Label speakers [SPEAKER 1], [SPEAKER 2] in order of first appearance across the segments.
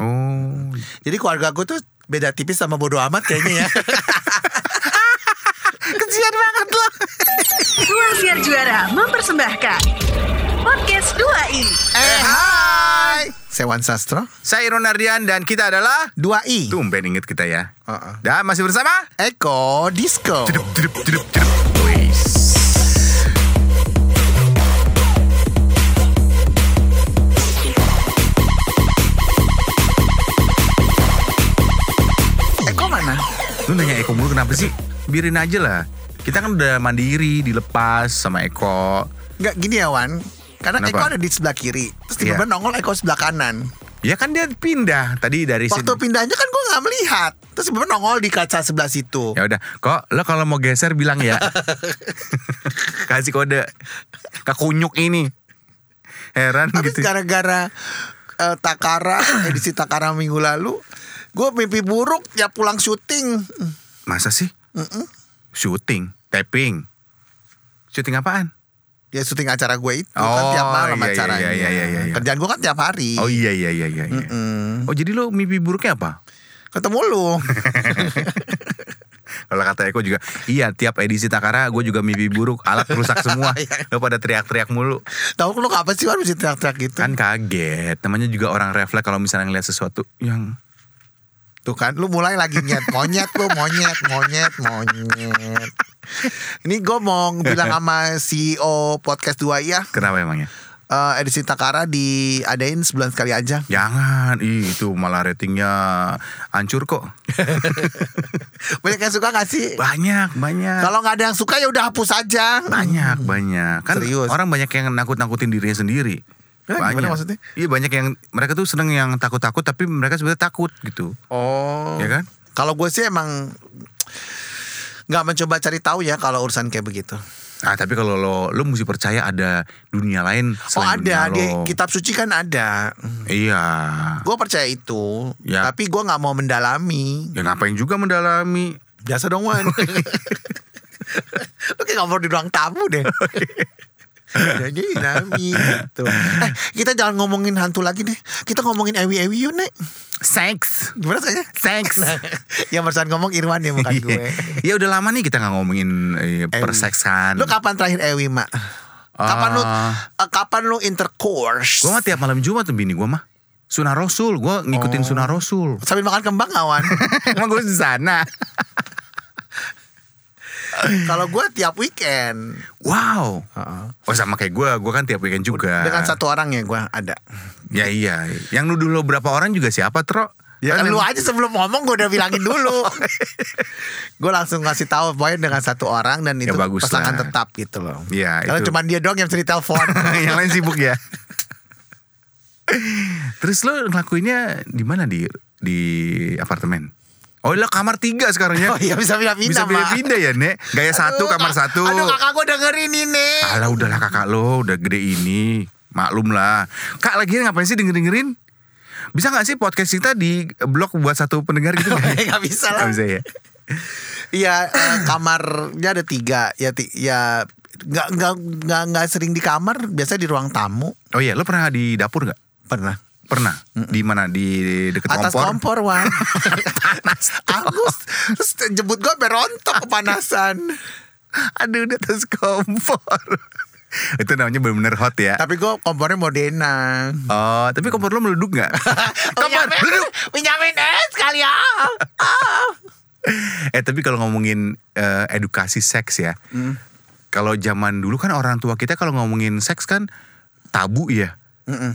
[SPEAKER 1] Oh, iya.
[SPEAKER 2] Jadi keluarga gue tuh beda tipis sama bodo amat kayaknya ya. Kesian banget loh.
[SPEAKER 3] Ruang Juara mempersembahkan Podcast 2i
[SPEAKER 2] Eh, hai. Sewan Sastro,
[SPEAKER 1] Saya Ron Ardian dan kita adalah
[SPEAKER 2] 2i.
[SPEAKER 1] Tumben inget kita ya
[SPEAKER 2] Uh-uh.
[SPEAKER 1] Dan masih bersama
[SPEAKER 2] Eko Disco.
[SPEAKER 1] Tidup, tidup, tidup. Wis.
[SPEAKER 2] Eko mana?
[SPEAKER 1] Lu nanya Eko mulu kenapa sih? Biarin aja lah Kita kan udah mandiri Dilepas sama Eko
[SPEAKER 2] Enggak gini ya Wan. Karena
[SPEAKER 1] Kenapa?
[SPEAKER 2] Eko ada di sebelah kiri. Terus tiba-tiba
[SPEAKER 1] Iya.
[SPEAKER 2] nongol Eko sebelah kanan.
[SPEAKER 1] Ya kan dia pindah Tadi dari
[SPEAKER 2] Waktu
[SPEAKER 1] sini
[SPEAKER 2] pindahnya kan gue nggak melihat. Terus tiba-tiba nongol di kaca sebelah situ.
[SPEAKER 1] Ya udah Kok lo kalau mau geser bilang ya Kasih kode Kekunyuk ini Heran
[SPEAKER 2] Habis
[SPEAKER 1] gitu
[SPEAKER 2] gara-gara eh, Takara edisi Takara minggu lalu, gue mimpi buruk ya pulang syuting.
[SPEAKER 1] Masa sih? Syuting Tapping Syuting apaan?
[SPEAKER 2] Ya syuting acara gue itu kan
[SPEAKER 1] Oh,
[SPEAKER 2] tiap malam
[SPEAKER 1] iya, iya,
[SPEAKER 2] acaranya.
[SPEAKER 1] iya, iya, iya, iya.
[SPEAKER 2] Kerjaan gue kan tiap hari.
[SPEAKER 1] Oh iya iya iya iya. iya. Oh jadi lo mimpi buruknya apa?
[SPEAKER 2] Ketemu lu.
[SPEAKER 1] Kalau kata Eko juga, iya tiap edisi Takara gue juga mimpi buruk, alat rusak semua.
[SPEAKER 2] Iya.
[SPEAKER 1] Lo pada teriak-teriak mulu.
[SPEAKER 2] Tahu lu kapan sih Wan mesti teriak-teriak gitu?
[SPEAKER 1] Kan kaget, namanya juga orang refleks kalau misalnya ngeliat sesuatu yang
[SPEAKER 2] Tuh kan, lu mulai lagi nyet monyet lu monyet monyet monyet. Ini gue mau bilang sama CEO podcast 2 ya
[SPEAKER 1] kenapa emangnya?
[SPEAKER 2] eh, edisi Takara diadain sebulan sekali aja.
[SPEAKER 1] Jangan, Ih, itu malah ratingnya hancur kok.
[SPEAKER 2] Banyak yang suka gak sih?
[SPEAKER 1] Banyak, banyak.
[SPEAKER 2] Kalau nggak ada yang suka ya udah hapus aja.
[SPEAKER 1] banyak, banyak. Kan
[SPEAKER 2] Serius.
[SPEAKER 1] orang banyak yang nakut-nakutin dirinya sendiri.
[SPEAKER 2] Eh, gimana maksudnya?
[SPEAKER 1] Iya banyak yang mereka tuh seneng yang takut-takut tapi mereka sebenarnya takut gitu.
[SPEAKER 2] Oh.
[SPEAKER 1] Ya kan?
[SPEAKER 2] Kalau gue sih emang nggak mencoba cari tahu ya kalau urusan kayak begitu.
[SPEAKER 1] Ah tapi kalau lo lo mesti percaya ada dunia lain
[SPEAKER 2] Oh
[SPEAKER 1] selain
[SPEAKER 2] ada
[SPEAKER 1] dunia
[SPEAKER 2] di
[SPEAKER 1] lo.
[SPEAKER 2] kitab suci kan ada.
[SPEAKER 1] Iya.
[SPEAKER 2] Gue percaya itu,
[SPEAKER 1] Ya.
[SPEAKER 2] tapi gue nggak mau mendalami.
[SPEAKER 1] Ya ngapain juga mendalami?
[SPEAKER 2] Biasa dong Wan. Lu kayak ngobrol di ruang tamu deh. Jadi dami gitu. Eh, kita jangan ngomongin hantu lagi deh. Kita ngomongin ewi-ewi yuk, Nek.
[SPEAKER 1] Thanks.
[SPEAKER 2] Gimana kayaknya?
[SPEAKER 1] Thanks.
[SPEAKER 2] Yang barusan ngomong Irwan ya bukan gue.
[SPEAKER 1] ya udah lama nih kita nggak ngomongin eh,
[SPEAKER 2] Ewi.
[SPEAKER 1] perseksan.
[SPEAKER 2] Lu kapan terakhir ewi, Mak? Kapan lu
[SPEAKER 1] Ah.
[SPEAKER 2] eh, kapan lu intercourse?
[SPEAKER 1] Gua mah tiap malam Jumat tuh bini gua mah. Sunah Rasul, gua
[SPEAKER 2] Oh.
[SPEAKER 1] ngikutin Sunah Rasul.
[SPEAKER 2] Sambil makan kembang awan.
[SPEAKER 1] Emang gua di sana.
[SPEAKER 2] Kalau gue tiap weekend
[SPEAKER 1] Wow. Oh sama kayak gua, gua kan tiap weekend juga.
[SPEAKER 2] dengan satu orang ya gue ada.
[SPEAKER 1] Ya iya. Yang nuduh lo berapa orang juga siapa, Tro?
[SPEAKER 2] Ya kan
[SPEAKER 1] Kan
[SPEAKER 2] lu
[SPEAKER 1] yang-
[SPEAKER 2] aja sebelum ngomong gue udah bilangin dulu. gue langsung ngasih tahu pokoknya dengan satu orang dan itu
[SPEAKER 1] Ya, bagus
[SPEAKER 2] pasangan
[SPEAKER 1] lah.
[SPEAKER 2] tetap gitu loh.
[SPEAKER 1] Iya,
[SPEAKER 2] Karena
[SPEAKER 1] itu.
[SPEAKER 2] cuma dia doang yang bisa ditelepon.
[SPEAKER 1] yang lain sibuk ya. Terus lo ngelakuinnya di mana di di apartemen? Oh lo kamar tiga sekarang ya?
[SPEAKER 2] Oh iya bisa
[SPEAKER 1] Bisa
[SPEAKER 2] pindah-pindah Mak.
[SPEAKER 1] pindah-pindah ya Nek? Gaya satu
[SPEAKER 2] Aduh,
[SPEAKER 1] kamar
[SPEAKER 2] kak-
[SPEAKER 1] satu.
[SPEAKER 2] Aduh kakak gue dengerin ini Nek.
[SPEAKER 1] Alah udahlah kakak lo udah gede ini. Maklum lah. Kak lagi ngapain sih denger-dengerin? Bisa gak sih podcast kita di blog buat satu pendengar gitu?
[SPEAKER 2] Oh, Nggak bisa lah.
[SPEAKER 1] Gak bisa ya?
[SPEAKER 2] Iya eh, kamarnya ada tiga ya ti- ya nggak nggak nggak nggak sering di kamar biasa di ruang tamu
[SPEAKER 1] Oh iya lo pernah di dapur gak?
[SPEAKER 2] pernah
[SPEAKER 1] Pernah? Di mana? Di deket
[SPEAKER 2] atas
[SPEAKER 1] kompor?
[SPEAKER 2] kompor wan panas Agus terus jebut gue berontok kepanasan
[SPEAKER 1] Aduh di atas kompor. Itu namanya bener-bener hot ya.
[SPEAKER 2] tapi gue kompornya Modena
[SPEAKER 1] Oh, tapi kompor lo meleduk gak?
[SPEAKER 2] Oh,
[SPEAKER 1] Kapan? Meleduk.
[SPEAKER 2] pinjamin es kali ya
[SPEAKER 1] Eh, tapi kalau ngomongin eh, edukasi seks ya. Kalau zaman dulu kan orang tua kita kalau ngomongin seks kan tabu ya.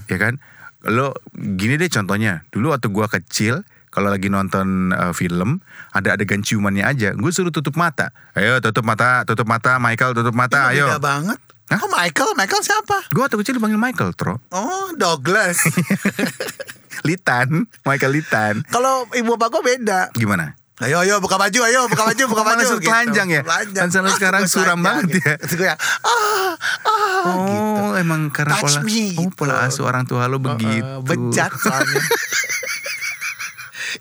[SPEAKER 1] Ya kan? Lo gini deh contohnya. Dulu waktu gua kecil kalau lagi nonton eh, film ada adegan ciumannya aja. Gue suruh tutup mata. Ayo tutup mata, tutup mata, Michael tutup mata, Nah, ayo.
[SPEAKER 2] Iya, beda banget
[SPEAKER 1] Hah?
[SPEAKER 2] oh Michael Michael siapa Iya.
[SPEAKER 1] Gue waktu kecil dipanggil Michael, Tro.
[SPEAKER 2] oh Douglas
[SPEAKER 1] Litan, Michael Litan.
[SPEAKER 2] kalau ibu bapak gue beda
[SPEAKER 1] Gimana?
[SPEAKER 2] Ayo ayo buka baju ayo buka baju buka
[SPEAKER 1] Kok
[SPEAKER 2] baju Gitu.
[SPEAKER 1] langsung telanjang ya? Langsung
[SPEAKER 2] Ah,
[SPEAKER 1] sekarang
[SPEAKER 2] gua
[SPEAKER 1] suram
[SPEAKER 2] telanjang,
[SPEAKER 1] banget
[SPEAKER 2] gitu.
[SPEAKER 1] ya.
[SPEAKER 2] Terus gua yang, ah ah
[SPEAKER 1] Oh,
[SPEAKER 2] gitu.
[SPEAKER 1] emang karena
[SPEAKER 2] Touch
[SPEAKER 1] pola,
[SPEAKER 2] me,
[SPEAKER 1] oh, pola
[SPEAKER 2] gitu.
[SPEAKER 1] asuh orang tua lo begitu.
[SPEAKER 2] Eh, Bejat soalnya.
[SPEAKER 1] Ya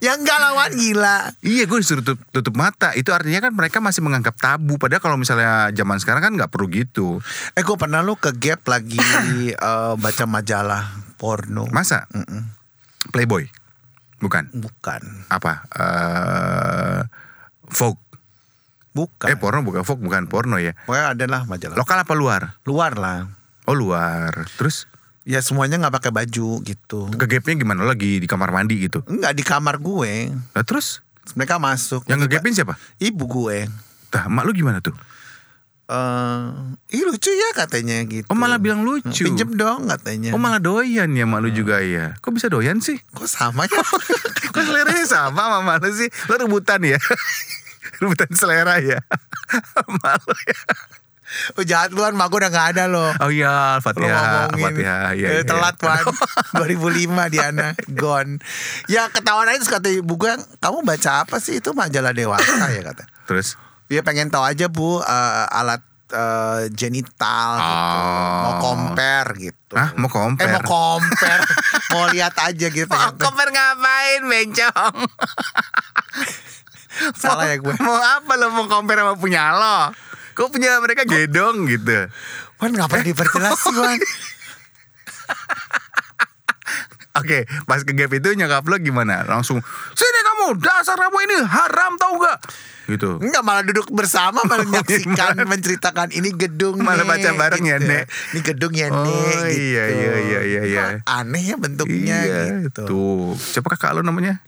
[SPEAKER 2] yang enggak lawan gila.
[SPEAKER 1] Iya gue disuruh tutup, tutup mata Itu artinya kan mereka masih menganggap tabu Padahal kalau misalnya zaman sekarang kan nggak perlu gitu
[SPEAKER 2] Eh gue pernah lu ke gap lagi eh, baca majalah porno.
[SPEAKER 1] Masa? Playboy Bukan.
[SPEAKER 2] Bukan.
[SPEAKER 1] Apa? Eh Vogue.
[SPEAKER 2] Bukan.
[SPEAKER 1] Eh porno bukan Vogue, bukan porno ya.
[SPEAKER 2] Pokoknya ada lah majalah.
[SPEAKER 1] Lokal apa luar?
[SPEAKER 2] Luar lah.
[SPEAKER 1] Oh luar. Terus
[SPEAKER 2] Ya semuanya nggak pakai baju gitu.
[SPEAKER 1] ngegapnya gimana? Lo lagi di kamar mandi gitu.
[SPEAKER 2] Enggak di kamar gue.
[SPEAKER 1] Nah, terus
[SPEAKER 2] Mereka masuk.
[SPEAKER 1] yang ngegapin siapa?
[SPEAKER 2] Ibu gue.
[SPEAKER 1] Tah, mak lu gimana tuh?
[SPEAKER 2] eh Ih lucu ya katanya gitu.
[SPEAKER 1] Oh malah bilang lucu.
[SPEAKER 2] Pinjem dong
[SPEAKER 1] Oh
[SPEAKER 2] katanya.
[SPEAKER 1] malah doyan ya mak lu juga ya. Kok bisa doyan sih?
[SPEAKER 2] Kok sama ya?
[SPEAKER 1] Kok seleranya sama sama mak lu sih? Lo rebutan ya? rebutan selera ya? Malu ya?
[SPEAKER 2] oh, jahat luan, mak gue udah nggak ada loh.
[SPEAKER 1] Oh iya,
[SPEAKER 2] Lo
[SPEAKER 1] Fatihah,
[SPEAKER 2] ngomongin.
[SPEAKER 1] Fatihah, iya,
[SPEAKER 2] Eh,
[SPEAKER 1] iya.
[SPEAKER 2] telat Wan. 2005 Diana gone. Ya ketahuan aja terus kata ibu gue, kamu baca apa sih itu majalah dewasa ya kata.
[SPEAKER 1] Terus,
[SPEAKER 2] Dia Iya, pengen tahu aja bu eh, alat eh, genital gitu.
[SPEAKER 1] Oh.
[SPEAKER 2] Mau compare gitu.
[SPEAKER 1] ah mau
[SPEAKER 2] Eh
[SPEAKER 1] compare?
[SPEAKER 2] mau compare, mau lihat aja gitu. pengen tahu.
[SPEAKER 1] compare ngapain, bencong?
[SPEAKER 2] Salah ya gue.
[SPEAKER 1] Mau apa lo mau compare sama punya lo? Kok punya mereka gedong gitu?
[SPEAKER 2] Wan ngapain diperjelas sih Wan?
[SPEAKER 1] Oke, pas ke gap itu nyokap lo gimana? Langsung, sini kamu, dasar kamu ini haram tau gak? Gitu.
[SPEAKER 2] Enggak malah duduk bersama malah menyaksikan menceritakan ini gedung
[SPEAKER 1] Malah
[SPEAKER 2] Nek,
[SPEAKER 1] baca bareng ya, Nek.
[SPEAKER 2] Ini gedung ya
[SPEAKER 1] Oh,
[SPEAKER 2] Nek gitu.
[SPEAKER 1] iya, iya, iya, iya, iya.
[SPEAKER 2] Kok Aneh ya bentuknya
[SPEAKER 1] Iya,
[SPEAKER 2] gitu.
[SPEAKER 1] tuh. Siapa kakak lo namanya?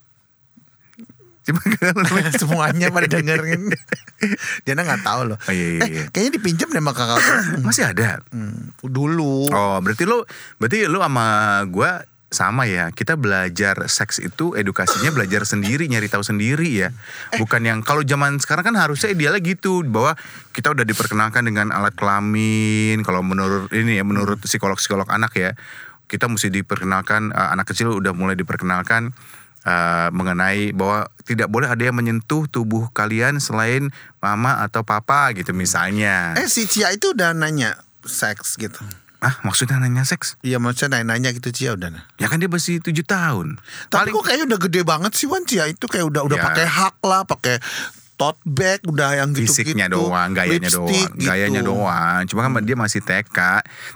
[SPEAKER 1] Siapa kakak lo namanya?
[SPEAKER 2] Semuanya pada dengerin. Diana nggak tahu loh.
[SPEAKER 1] Oh, iya, iya,
[SPEAKER 2] Eh,
[SPEAKER 1] iya.
[SPEAKER 2] kayaknya dipinjam deh sama kakak. gue.
[SPEAKER 1] Masih ada?
[SPEAKER 2] Hmm, dulu.
[SPEAKER 1] Oh, berarti lo, berarti lo sama gua sama ya. Kita belajar seks itu edukasinya belajar sendiri, nyari tahu sendiri ya. Bukan yang kalau zaman sekarang kan harusnya idealnya gitu bahwa kita udah diperkenalkan dengan alat kelamin. Kalau menurut ini ya, menurut psikolog-psikolog anak ya, kita mesti diperkenalkan eh, anak kecil udah mulai diperkenalkan eh, mengenai bahwa tidak boleh ada yang menyentuh tubuh kalian selain mama atau papa gitu misalnya.
[SPEAKER 2] Eh si Cia itu udah nanya seks gitu.
[SPEAKER 1] Ah, maksudnya nanya seks?
[SPEAKER 2] Iya maksudnya nanya-nanya gitu Cia udah. nah.
[SPEAKER 1] Ya kan dia masih tujuh tahun. Paling-
[SPEAKER 2] Tapi kok kayaknya udah gede banget sih Wan Cia itu kayak udah udah
[SPEAKER 1] Ya.
[SPEAKER 2] pakai hak lah, pakai tote bag udah yang gitu-gitu.
[SPEAKER 1] fisiknya doang, gayanya
[SPEAKER 2] Lipstick
[SPEAKER 1] doang, gayanya
[SPEAKER 2] gitu.
[SPEAKER 1] doang. Cuma kan dia masih TK.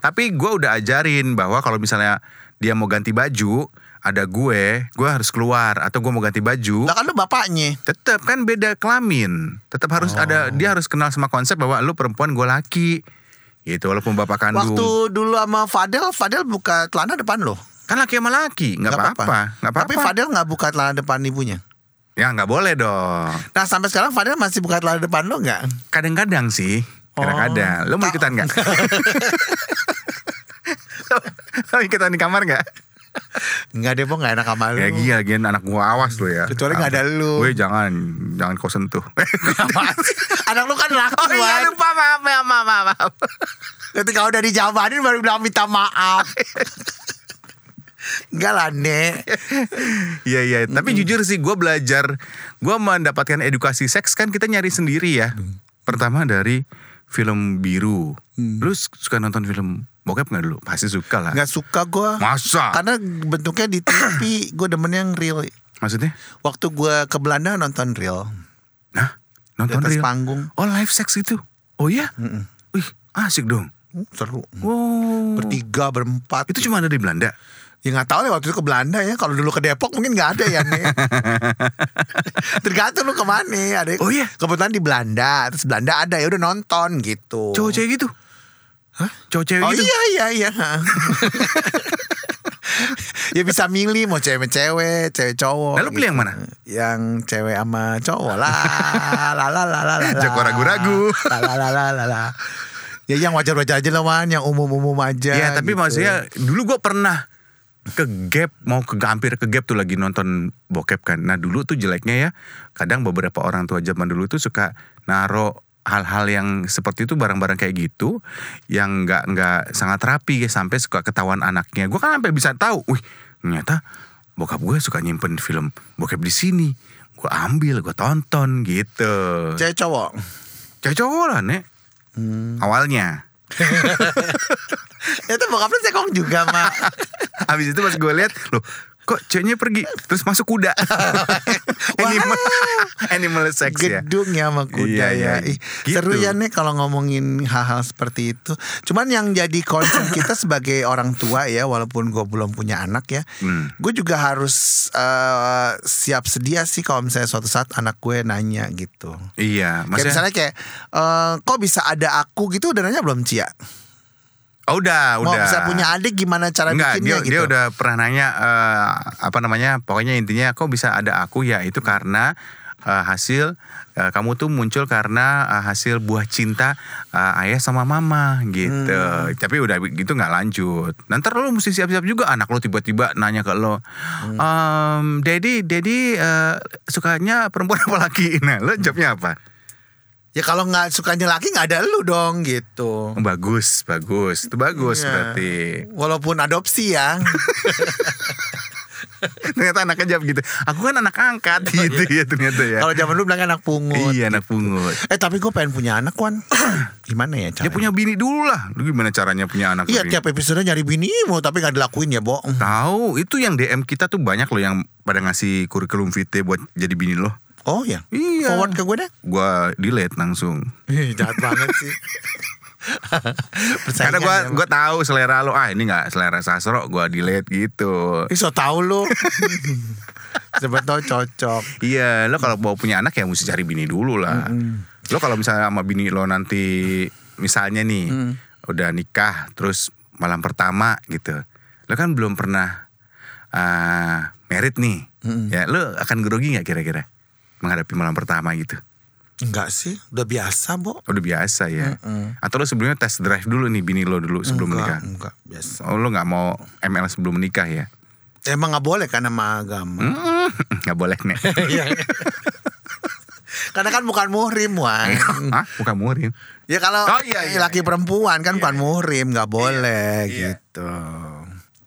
[SPEAKER 1] Tapi gue udah ajarin bahwa kalau misalnya dia mau ganti baju, ada gue, gue harus keluar atau gue mau ganti baju.
[SPEAKER 2] Lah kan lu bapaknya.
[SPEAKER 1] Tetap kan beda kelamin. Tetap harus
[SPEAKER 2] Oh.
[SPEAKER 1] ada dia harus kenal sama konsep bahwa lu perempuan gue laki. Gitu walaupun bapak kandung.
[SPEAKER 2] Waktu dulu sama Fadel, Fadel buka celana depan lo.
[SPEAKER 1] Kan laki sama laki, nggak apa-apa, nggak apa-apa.
[SPEAKER 2] Tapi Fadel nggak buka celana depan ibunya.
[SPEAKER 1] Ya nggak boleh dong.
[SPEAKER 2] Nah sampai sekarang Fadel masih buka celana depan lo nggak?
[SPEAKER 1] Kadang-kadang sih, kadang-kadang. Lo mau
[SPEAKER 2] Ta-
[SPEAKER 1] ikutan nggak? Lo mau ikutan di kamar nggak?
[SPEAKER 2] Nggak deh, Bo, nggak enak sama lu.
[SPEAKER 1] Ya gila, gila anak gua awas lo ya.
[SPEAKER 2] Kecuali nggak ada lu.
[SPEAKER 1] Woi jangan, jangan kau sentuh.
[SPEAKER 2] Apaan sih? anak lu kan laki
[SPEAKER 1] Oh iya
[SPEAKER 2] Wan.
[SPEAKER 1] lupa maaf maaf maaf maaf.
[SPEAKER 2] Ketika udah dijabanin baru bilang minta maaf. Enggak lah, Nek.
[SPEAKER 1] Iya iya. Tapi jujur sih gua belajar, gua mendapatkan edukasi seks kan kita nyari sendiri ya. Pertama dari film biru. Lu suka nonton film bokep nggak dulu? Pasti suka lah.
[SPEAKER 2] Mm. Nggak suka gue.
[SPEAKER 1] Masa?
[SPEAKER 2] Karena bentuknya di TV, gue demen yang real.
[SPEAKER 1] Maksudnya?
[SPEAKER 2] Waktu gue ke Belanda nonton real.
[SPEAKER 1] Nah, nonton
[SPEAKER 2] atas
[SPEAKER 1] real.
[SPEAKER 2] panggung.
[SPEAKER 1] Oh, live sex itu. Oh iya? Wih, asik dong.
[SPEAKER 2] Hmm, Seru.
[SPEAKER 1] Wow.
[SPEAKER 2] Bertiga, berempat.
[SPEAKER 1] Itu cuma ada di Belanda.
[SPEAKER 2] Ya nggak tahu deh waktu itu ke Belanda ya. Kalau dulu ke Depok mungkin nggak ada ya nih. Tergantung lu kemana. Ada. yang-
[SPEAKER 1] Oh, iya?
[SPEAKER 2] Kebetulan di Belanda. Terus Belanda ada ya udah nonton gitu.
[SPEAKER 1] Cowok cewek gitu. Hah? Cowok cewek
[SPEAKER 2] oh
[SPEAKER 1] gitu.
[SPEAKER 2] iya iya iya. ya bisa milih mau cewek-cewek, cewek cowok. gitu.
[SPEAKER 1] Lalu pilih yang mana?
[SPEAKER 2] Yang cewek sama cowok lah. la la la la la. la.
[SPEAKER 1] Jago ragu-ragu.
[SPEAKER 2] La la la la la. la. Ya yang wajar-wajar aja lah man, yang umum-umum aja.
[SPEAKER 1] Ya, tapi
[SPEAKER 2] gitu.
[SPEAKER 1] maksudnya dulu gue pernah ke gap mau ke hampir ke gap tuh lagi nonton bokep kan. Nah dulu tuh jeleknya ya kadang beberapa orang tua zaman dulu tuh suka naro hal-hal yang seperti itu barang-barang kayak gitu yang nggak nggak sangat rapi ya sampai suka ketahuan anaknya. Gue kan sampai bisa tahu, wih ternyata bokap gue suka nyimpen film bokep di sini. Gue ambil, gue tonton gitu.
[SPEAKER 2] cewek cowok.
[SPEAKER 1] Cewek cowok lah nek. Awalnya.
[SPEAKER 2] itu bokap lu cekong juga, Mak.
[SPEAKER 1] Habis itu pas gue lihat, loh kok ceweknya pergi terus masuk kuda animal animal sex ya
[SPEAKER 2] Gedung ya sama kuda
[SPEAKER 1] Iya,
[SPEAKER 2] ya.
[SPEAKER 1] iya.
[SPEAKER 2] Ih, Seru
[SPEAKER 1] Gitu.
[SPEAKER 2] ya nih kalau ngomongin hal-hal seperti itu. Cuman yang jadi concern kita sebagai orang tua ya, walaupun gue belum punya anak ya,
[SPEAKER 1] Hmm.
[SPEAKER 2] gue juga harus eh, siap sedia sih kalau misalnya suatu saat anak gue nanya gitu.
[SPEAKER 1] iya
[SPEAKER 2] Kayak
[SPEAKER 1] maksudnya
[SPEAKER 2] misalnya kayak eh, kok bisa ada aku gitu udah nanya belum Cia?
[SPEAKER 1] oh, udah
[SPEAKER 2] Mau
[SPEAKER 1] udah
[SPEAKER 2] bisa punya adik gimana cara
[SPEAKER 1] Enggak, dia,
[SPEAKER 2] bikinnya gitu?
[SPEAKER 1] dia udah pernah nanya eh, apa namanya, pokoknya intinya kok bisa ada aku ya itu karena eh, hasil eh, kamu tuh muncul karena eh, hasil buah cinta eh, ayah sama mama gitu.
[SPEAKER 2] Hmm.
[SPEAKER 1] Tapi udah gitu nggak lanjut. Nanti lo mesti siap-siap juga anak lo tiba-tiba nanya ke lo,
[SPEAKER 2] Hmm.
[SPEAKER 1] "Em, Daddy, Daddy eh, sukanya perempuan apa laki? Nah, lo jawabnya apa?
[SPEAKER 2] Ya kalau nggak sukanya laki nggak ada lu dong gitu.
[SPEAKER 1] Oh, Bagus, bagus, itu bagus
[SPEAKER 2] Iya.
[SPEAKER 1] berarti.
[SPEAKER 2] Walaupun adopsi ya.
[SPEAKER 1] Ternyata anaknya jawab gitu. Aku kan anak angkat gitu ya ternyata ya.
[SPEAKER 2] Iya. Kalau zaman dulu bilang anak pungut.
[SPEAKER 1] Iya anak pungut.
[SPEAKER 2] Eh tapi gue pengen punya anak Wan Gimana ya
[SPEAKER 1] Ya
[SPEAKER 2] caranya?
[SPEAKER 1] punya bini dulu lah. Lu gimana caranya punya anak?
[SPEAKER 2] Iya
[SPEAKER 1] Rin?
[SPEAKER 2] tiap episode nyari binimu tapi gak dilakuin ya bohong
[SPEAKER 1] Tahu itu yang DM kita tuh banyak loh yang pada ngasih kurikulum vitae buat jadi bini lo.
[SPEAKER 2] Oh ya
[SPEAKER 1] Iya.
[SPEAKER 2] Forward ke gue deh
[SPEAKER 1] Gua delete langsung.
[SPEAKER 2] Ih, Jahat banget sih
[SPEAKER 1] Karena
[SPEAKER 2] Persaingan
[SPEAKER 1] gua
[SPEAKER 2] ya,
[SPEAKER 1] gua tahu selera lo. Ah ini nggak selera sasro. Gua delete gitu.
[SPEAKER 2] Ih, so tau lu Siapa tau cocok
[SPEAKER 1] Iya, lo kalau mau punya anak ya mesti cari bini dulu lah. Lo kalau misalnya sama bini lo nanti misalnya nih udah nikah terus malam pertama gitu. Lo kan belum pernah ah, merit nih. Ya, lo akan grogi nggak kira-kira menghadapi malam pertama gitu?
[SPEAKER 2] Enggak sih Udah biasa Bo
[SPEAKER 1] Udah biasa ya. Atau lo sebelumnya tes drive dulu nih bini lo dulu sebelum menikah.
[SPEAKER 2] Enggak, enggak biasa
[SPEAKER 1] Oh, lo nggak mau ML sebelum menikah ya?
[SPEAKER 2] Emang gak boleh kan sama agama
[SPEAKER 1] Nggak boleh nek.
[SPEAKER 2] Iya. Karena kan bukan muhrim Wan
[SPEAKER 1] Hah? Bukan murim.
[SPEAKER 2] Ya kalau
[SPEAKER 1] Oh, iya, iya,
[SPEAKER 2] laki
[SPEAKER 1] iya.
[SPEAKER 2] perempuan kan bukan muhrim nggak boleh
[SPEAKER 1] Iya.
[SPEAKER 2] gitu.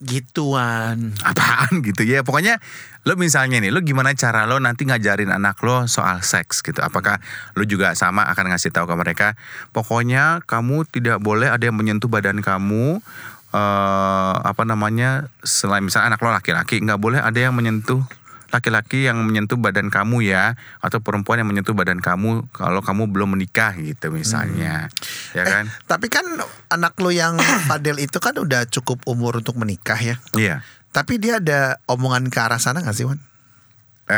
[SPEAKER 2] Gituan.
[SPEAKER 1] apaan gitu ya pokoknya lo misalnya nih lo gimana cara lo nanti ngajarin anak lo soal seks gitu apakah lo juga sama akan ngasih tahu ke mereka pokoknya kamu tidak boleh ada yang menyentuh badan kamu eh apa namanya selain misalnya anak lo laki-laki nggak boleh ada yang menyentuh laki-laki yang menyentuh badan kamu ya atau perempuan yang menyentuh badan kamu kalau kamu belum menikah gitu misalnya ya kan
[SPEAKER 2] Tapi kan anak lo yang padel itu kan udah cukup umur untuk menikah ya.
[SPEAKER 1] iya
[SPEAKER 2] Tapi dia ada omongan ke arah sana gak sih Wan?
[SPEAKER 1] Eh,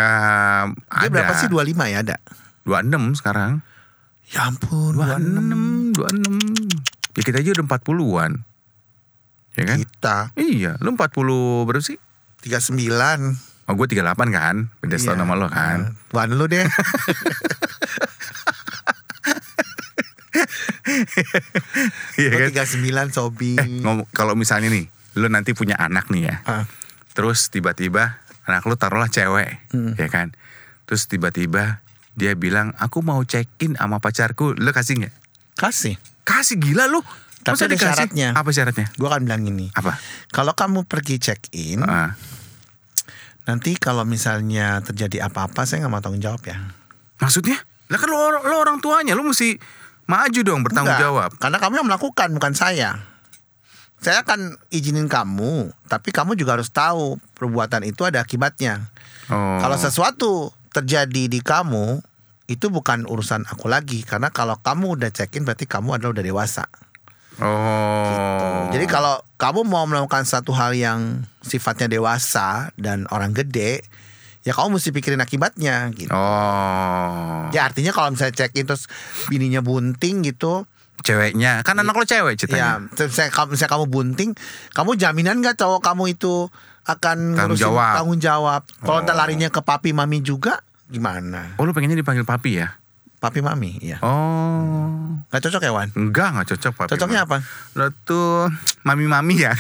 [SPEAKER 1] ada
[SPEAKER 2] Dia berapa sih 25 ya ada?
[SPEAKER 1] 26 sekarang
[SPEAKER 2] Ya ampun
[SPEAKER 1] 26,
[SPEAKER 2] 26
[SPEAKER 1] 26. Ya kita aja udah 40-an. Ya kan?
[SPEAKER 2] Kita
[SPEAKER 1] Iya, lu 40 berapa sih?
[SPEAKER 2] 39
[SPEAKER 1] Oh, gue 38 kan? Beda setahun
[SPEAKER 2] Iya.
[SPEAKER 1] sama lo kan?
[SPEAKER 2] Wan lu deh
[SPEAKER 1] Iya
[SPEAKER 2] Lu
[SPEAKER 1] kan?
[SPEAKER 2] 39 Sobi
[SPEAKER 1] Eh, ngomong kalau misalnya nih, lu nanti punya anak nih ya.
[SPEAKER 2] Ah.
[SPEAKER 1] Terus tiba-tiba anak lu taruhlah cewek,
[SPEAKER 2] Hmm.
[SPEAKER 1] ya kan? Terus tiba-tiba dia bilang, "Aku mau check-in sama pacarku." Lu kasih nggak?
[SPEAKER 2] Kasih
[SPEAKER 1] Kasih gila lu.
[SPEAKER 2] Tapi ada
[SPEAKER 1] dikasih?
[SPEAKER 2] syaratnya.
[SPEAKER 1] Apa syaratnya?
[SPEAKER 2] Gue kan bilang gini
[SPEAKER 1] Apa?
[SPEAKER 2] Kalau kamu pergi check in
[SPEAKER 1] Ah.
[SPEAKER 2] Nanti kalau misalnya terjadi apa-apa saya nggak mau tanggung jawab ya.
[SPEAKER 1] Hmm. Maksudnya? Lah kan lo, lo orang tuanya, lo mesti maju dong bertanggung
[SPEAKER 2] Nggak,
[SPEAKER 1] jawab.
[SPEAKER 2] Karena kamu yang melakukan bukan saya. Saya akan izinin kamu, tapi kamu juga harus tahu perbuatan itu ada akibatnya.
[SPEAKER 1] Oh.
[SPEAKER 2] Kalau sesuatu terjadi di kamu itu bukan urusan aku lagi karena kalau kamu udah check in berarti kamu adalah udah dewasa.
[SPEAKER 1] Oh.
[SPEAKER 2] Gitu. Jadi kalau kamu mau melakukan satu hal yang sifatnya dewasa dan orang gede, ya kamu mesti pikirin akibatnya gitu.
[SPEAKER 1] Oh.
[SPEAKER 2] Ya artinya kalau misalnya check in terus bininya bunting gitu,
[SPEAKER 1] Ceweknya, kan anak lo cewek
[SPEAKER 2] ya
[SPEAKER 1] ceritanya.
[SPEAKER 2] terus misalnya, kamu- misalnya kamu bunting, kamu jaminan nggak cowok kamu itu akan
[SPEAKER 1] Tanggung
[SPEAKER 2] ngurusin
[SPEAKER 1] jawab.
[SPEAKER 2] tanggung jawab. Kalau ntar
[SPEAKER 1] Oh.
[SPEAKER 2] larinya ke papi mami juga gimana?
[SPEAKER 1] Oh, lo pengennya dipanggil papi ya?
[SPEAKER 2] Papi mami, ya.
[SPEAKER 1] Oh.
[SPEAKER 2] Nggak cocok ya Wan?
[SPEAKER 1] Enggak, enggak cocok papi.
[SPEAKER 2] Cocoknya apa?
[SPEAKER 1] Lo tuh mami-mami ya.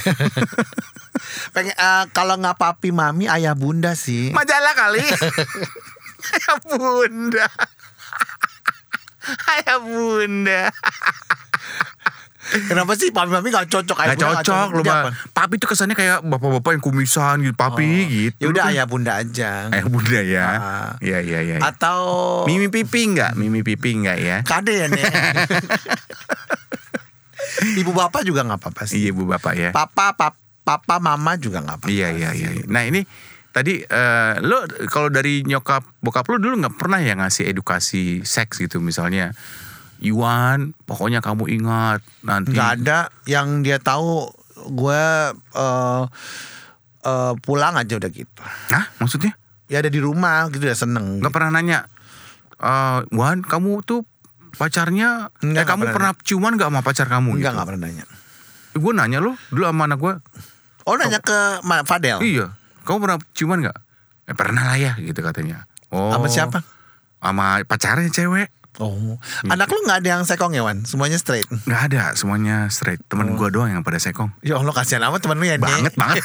[SPEAKER 2] Pengen eh, kalau nggak papi mami ayah bunda sih.
[SPEAKER 1] Majalah kali. ya bunda. Ya bunda.
[SPEAKER 2] Kenapa sih papi mami nggak cocok?
[SPEAKER 1] Gak
[SPEAKER 2] Ayah bunda
[SPEAKER 1] cocok lu
[SPEAKER 2] Dia
[SPEAKER 1] Pak.
[SPEAKER 2] apa?
[SPEAKER 1] Papi tuh kesannya kayak bapak-bapak yang kumisan gitu, papi gitu.
[SPEAKER 2] Ya udah
[SPEAKER 1] Lu kan-
[SPEAKER 2] ayah bunda aja.
[SPEAKER 1] Ayah bunda ya.
[SPEAKER 2] Ah.
[SPEAKER 1] Iya iya iya.
[SPEAKER 2] Atau
[SPEAKER 1] Mimi pipi enggak? Mimi pipi enggak ya?
[SPEAKER 2] kade ya nih. Ibu bapak juga nggak apa-apa sih.
[SPEAKER 1] Iya bu bapak ya.
[SPEAKER 2] Papa, pap- papa, mama juga nggak apa-apa.
[SPEAKER 1] Iya iya iya. Nah ini tadi eh, lo kalau dari nyokap bokap lo dulu nggak pernah ya ngasih edukasi seks gitu misalnya Iwan pokoknya kamu ingat nanti
[SPEAKER 2] nggak ada yang dia tahu gue eh, eh, pulang aja udah gitu
[SPEAKER 1] Hah? maksudnya
[SPEAKER 2] ya ada di rumah gitu ya seneng
[SPEAKER 1] nggak pernah nanya eh Wan kamu tuh pacarnya eh
[SPEAKER 2] Nggak, nggak
[SPEAKER 1] kamu
[SPEAKER 2] pernah.
[SPEAKER 1] pernah ciuman nggak sama pacar kamu gitu
[SPEAKER 2] enggak nggak pernah nanya
[SPEAKER 1] gue nanya lo dulu sama anak gue
[SPEAKER 2] oh nanya ke Ma- Fadel
[SPEAKER 1] iya kamu pernah ciuman nggak eh, pernah lah ya gitu katanya oh
[SPEAKER 2] Sama siapa?
[SPEAKER 1] sama pacarnya cewek
[SPEAKER 2] oh
[SPEAKER 1] Iya.
[SPEAKER 2] anak lu nggak ada yang sekong ya Wan semuanya straight
[SPEAKER 1] nggak ada semuanya straight
[SPEAKER 2] Oh.
[SPEAKER 1] temen gua doang yang pada sekong
[SPEAKER 2] ya Allah kasihan amat temen lu ya Nek.
[SPEAKER 1] banget banget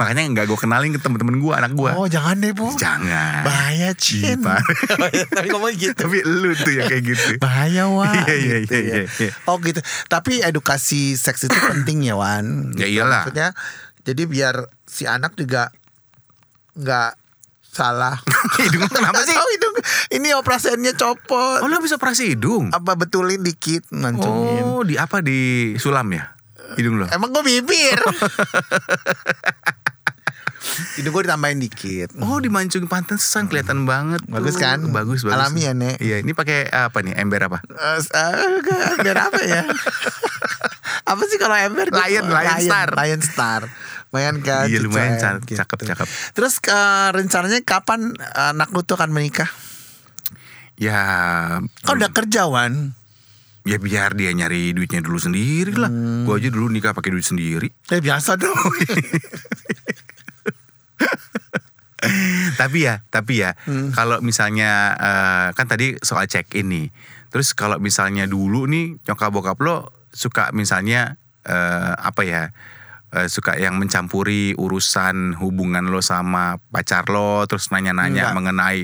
[SPEAKER 1] makanya nggak gue kenalin ke temen-temen gue anak gue
[SPEAKER 2] oh jangan deh bu
[SPEAKER 1] jangan Iya,
[SPEAKER 2] bahaya Cin
[SPEAKER 1] Bah-
[SPEAKER 2] tapi ngomong gitu
[SPEAKER 1] tapi lu tuh yang kayak gitu
[SPEAKER 2] bahaya Wan
[SPEAKER 1] Iya, iya,
[SPEAKER 2] gitu
[SPEAKER 1] iya,
[SPEAKER 2] ya.
[SPEAKER 1] iya.
[SPEAKER 2] oh gitu tapi edukasi seks itu penting ya Wan
[SPEAKER 1] Ya
[SPEAKER 2] Gitu.
[SPEAKER 1] iyalah.
[SPEAKER 2] maksudnya jadi biar si anak juga nggak salah
[SPEAKER 1] hidung lu kenapa sih
[SPEAKER 2] Tahu hidung ini operasannya
[SPEAKER 1] oh
[SPEAKER 2] copot
[SPEAKER 1] lu bisa operasi hidung
[SPEAKER 2] apa betulin dikit mancungin
[SPEAKER 1] oh di apa di sulam ya hidung lo
[SPEAKER 2] emang gue bibir hidung gue ditambahin dikit
[SPEAKER 1] Oh dimancung pantesan kelihatan banget tuh.
[SPEAKER 2] Bagus kan?
[SPEAKER 1] Bagus bagus
[SPEAKER 2] Alami ya, Nek?
[SPEAKER 1] Iya ini pakai apa nih ember apa?
[SPEAKER 2] Eh, eh, ember apa ya? apa sih kalau ember? gitu?
[SPEAKER 1] Lion, Lion Star.
[SPEAKER 2] Lion Star. Lumayan kan?
[SPEAKER 1] Iya, lumayan,
[SPEAKER 2] keren,
[SPEAKER 1] ca- cakep, cakep.
[SPEAKER 2] Terus eh, rencananya kapan anak lu tuh akan menikah?
[SPEAKER 1] Ya
[SPEAKER 2] Kan
[SPEAKER 1] Hmm.
[SPEAKER 2] udah kerjawan.
[SPEAKER 1] ya biar dia nyari duitnya dulu sendiri lah. Gua aja dulu nikah pakai duit sendiri.
[SPEAKER 2] Ya biasa dong.
[SPEAKER 1] tapi ya, tapi ya, kalau misalnya eh, kan tadi soal check in nih. Terus kalau misalnya dulu nih nyokap bokap lo suka misalnya eh, apa ya? eh, suka yang mencampuri urusan hubungan lo sama pacar lo terus nanya-nanya
[SPEAKER 2] Enggak.
[SPEAKER 1] mengenai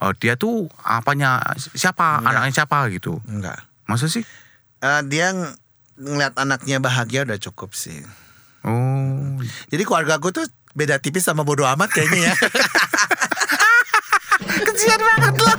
[SPEAKER 1] oh dia tuh apanya siapa anaknya siapa gitu.
[SPEAKER 2] Enggak.
[SPEAKER 1] Masa sih?
[SPEAKER 2] Eh, dia ng- ngeliat anaknya bahagia udah cukup sih.
[SPEAKER 1] Oh.
[SPEAKER 2] Jadi keluarga gue tuh beda tipis sama bodo amat kayaknya ya. Kesian banget loh.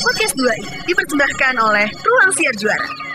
[SPEAKER 3] Podcast 2 dipersembahkan oleh Ruang Siar Juara.